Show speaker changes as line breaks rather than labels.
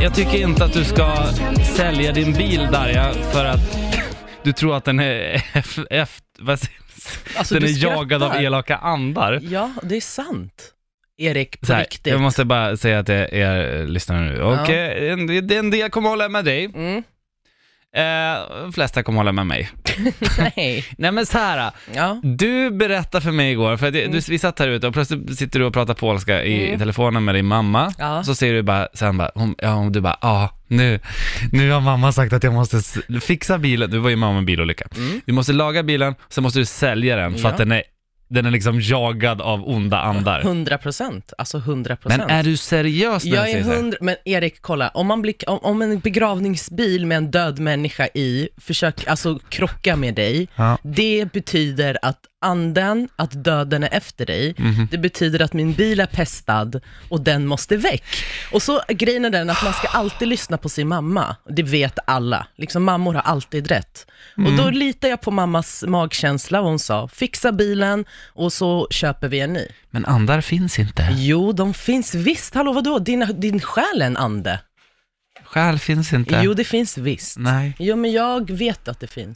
jag tycker inte att du ska sälja din bil Darja, för att du tror att den är, f- f- vad säger-
Alltså,
den
du
är jagad av
skrattar.
elaka andar.
Ja, det är sant. Erik, på
Så här,
riktigt.
jag måste bara säga att jag är lyssnare nu. Och
Ja.
eh, en, det är en del kommer hålla med dig,
Mm.
eh, de flesta kommer hålla med mig.
Nej.
Nej men så här,
Ja.
du berättade för mig igår, för att det,
Mm.
du, vi satt här ute och plötsligt sitter du och pratar polska i, i telefonen med din mamma.
Ja.
Så säger du bara, sen bara, hon, ja, och du bara, ja, nu, nu har mamma sagt att jag måste s- fixa bilen. Du var ju mamma med en bilolycka. Du måste laga bilen, sen måste du sälja den för
Mm. Ja.
att den är, den är liksom jagad av onda andar.
100 procent. Alltså 100
Men
procent.
är du seriös när
Jag
du
är
säger så här?
hundra, men Erik kolla, om, man blir, om, om en begravningsbil med en död människa i försöker alltså krocka med dig,
Ja.
det betyder att anden, att döden är efter dig,
Mhm.
det betyder att min bil är pestad och den måste väck. Och så grejen är den att man ska alltid lyssna på sin mamma, det vet alla, liksom mammor har alltid rätt. Och
Mm.
då litar jag på mammas magkänsla, och hon sa, fixa bilen och så köper vi en ny.
Men andar finns inte.
Jo, de finns visst. Hallå, vadå? Din, din själ är en ande.
Själ finns inte.
Jo, det finns visst.
Nej.
Jo, men jag vet att det finns.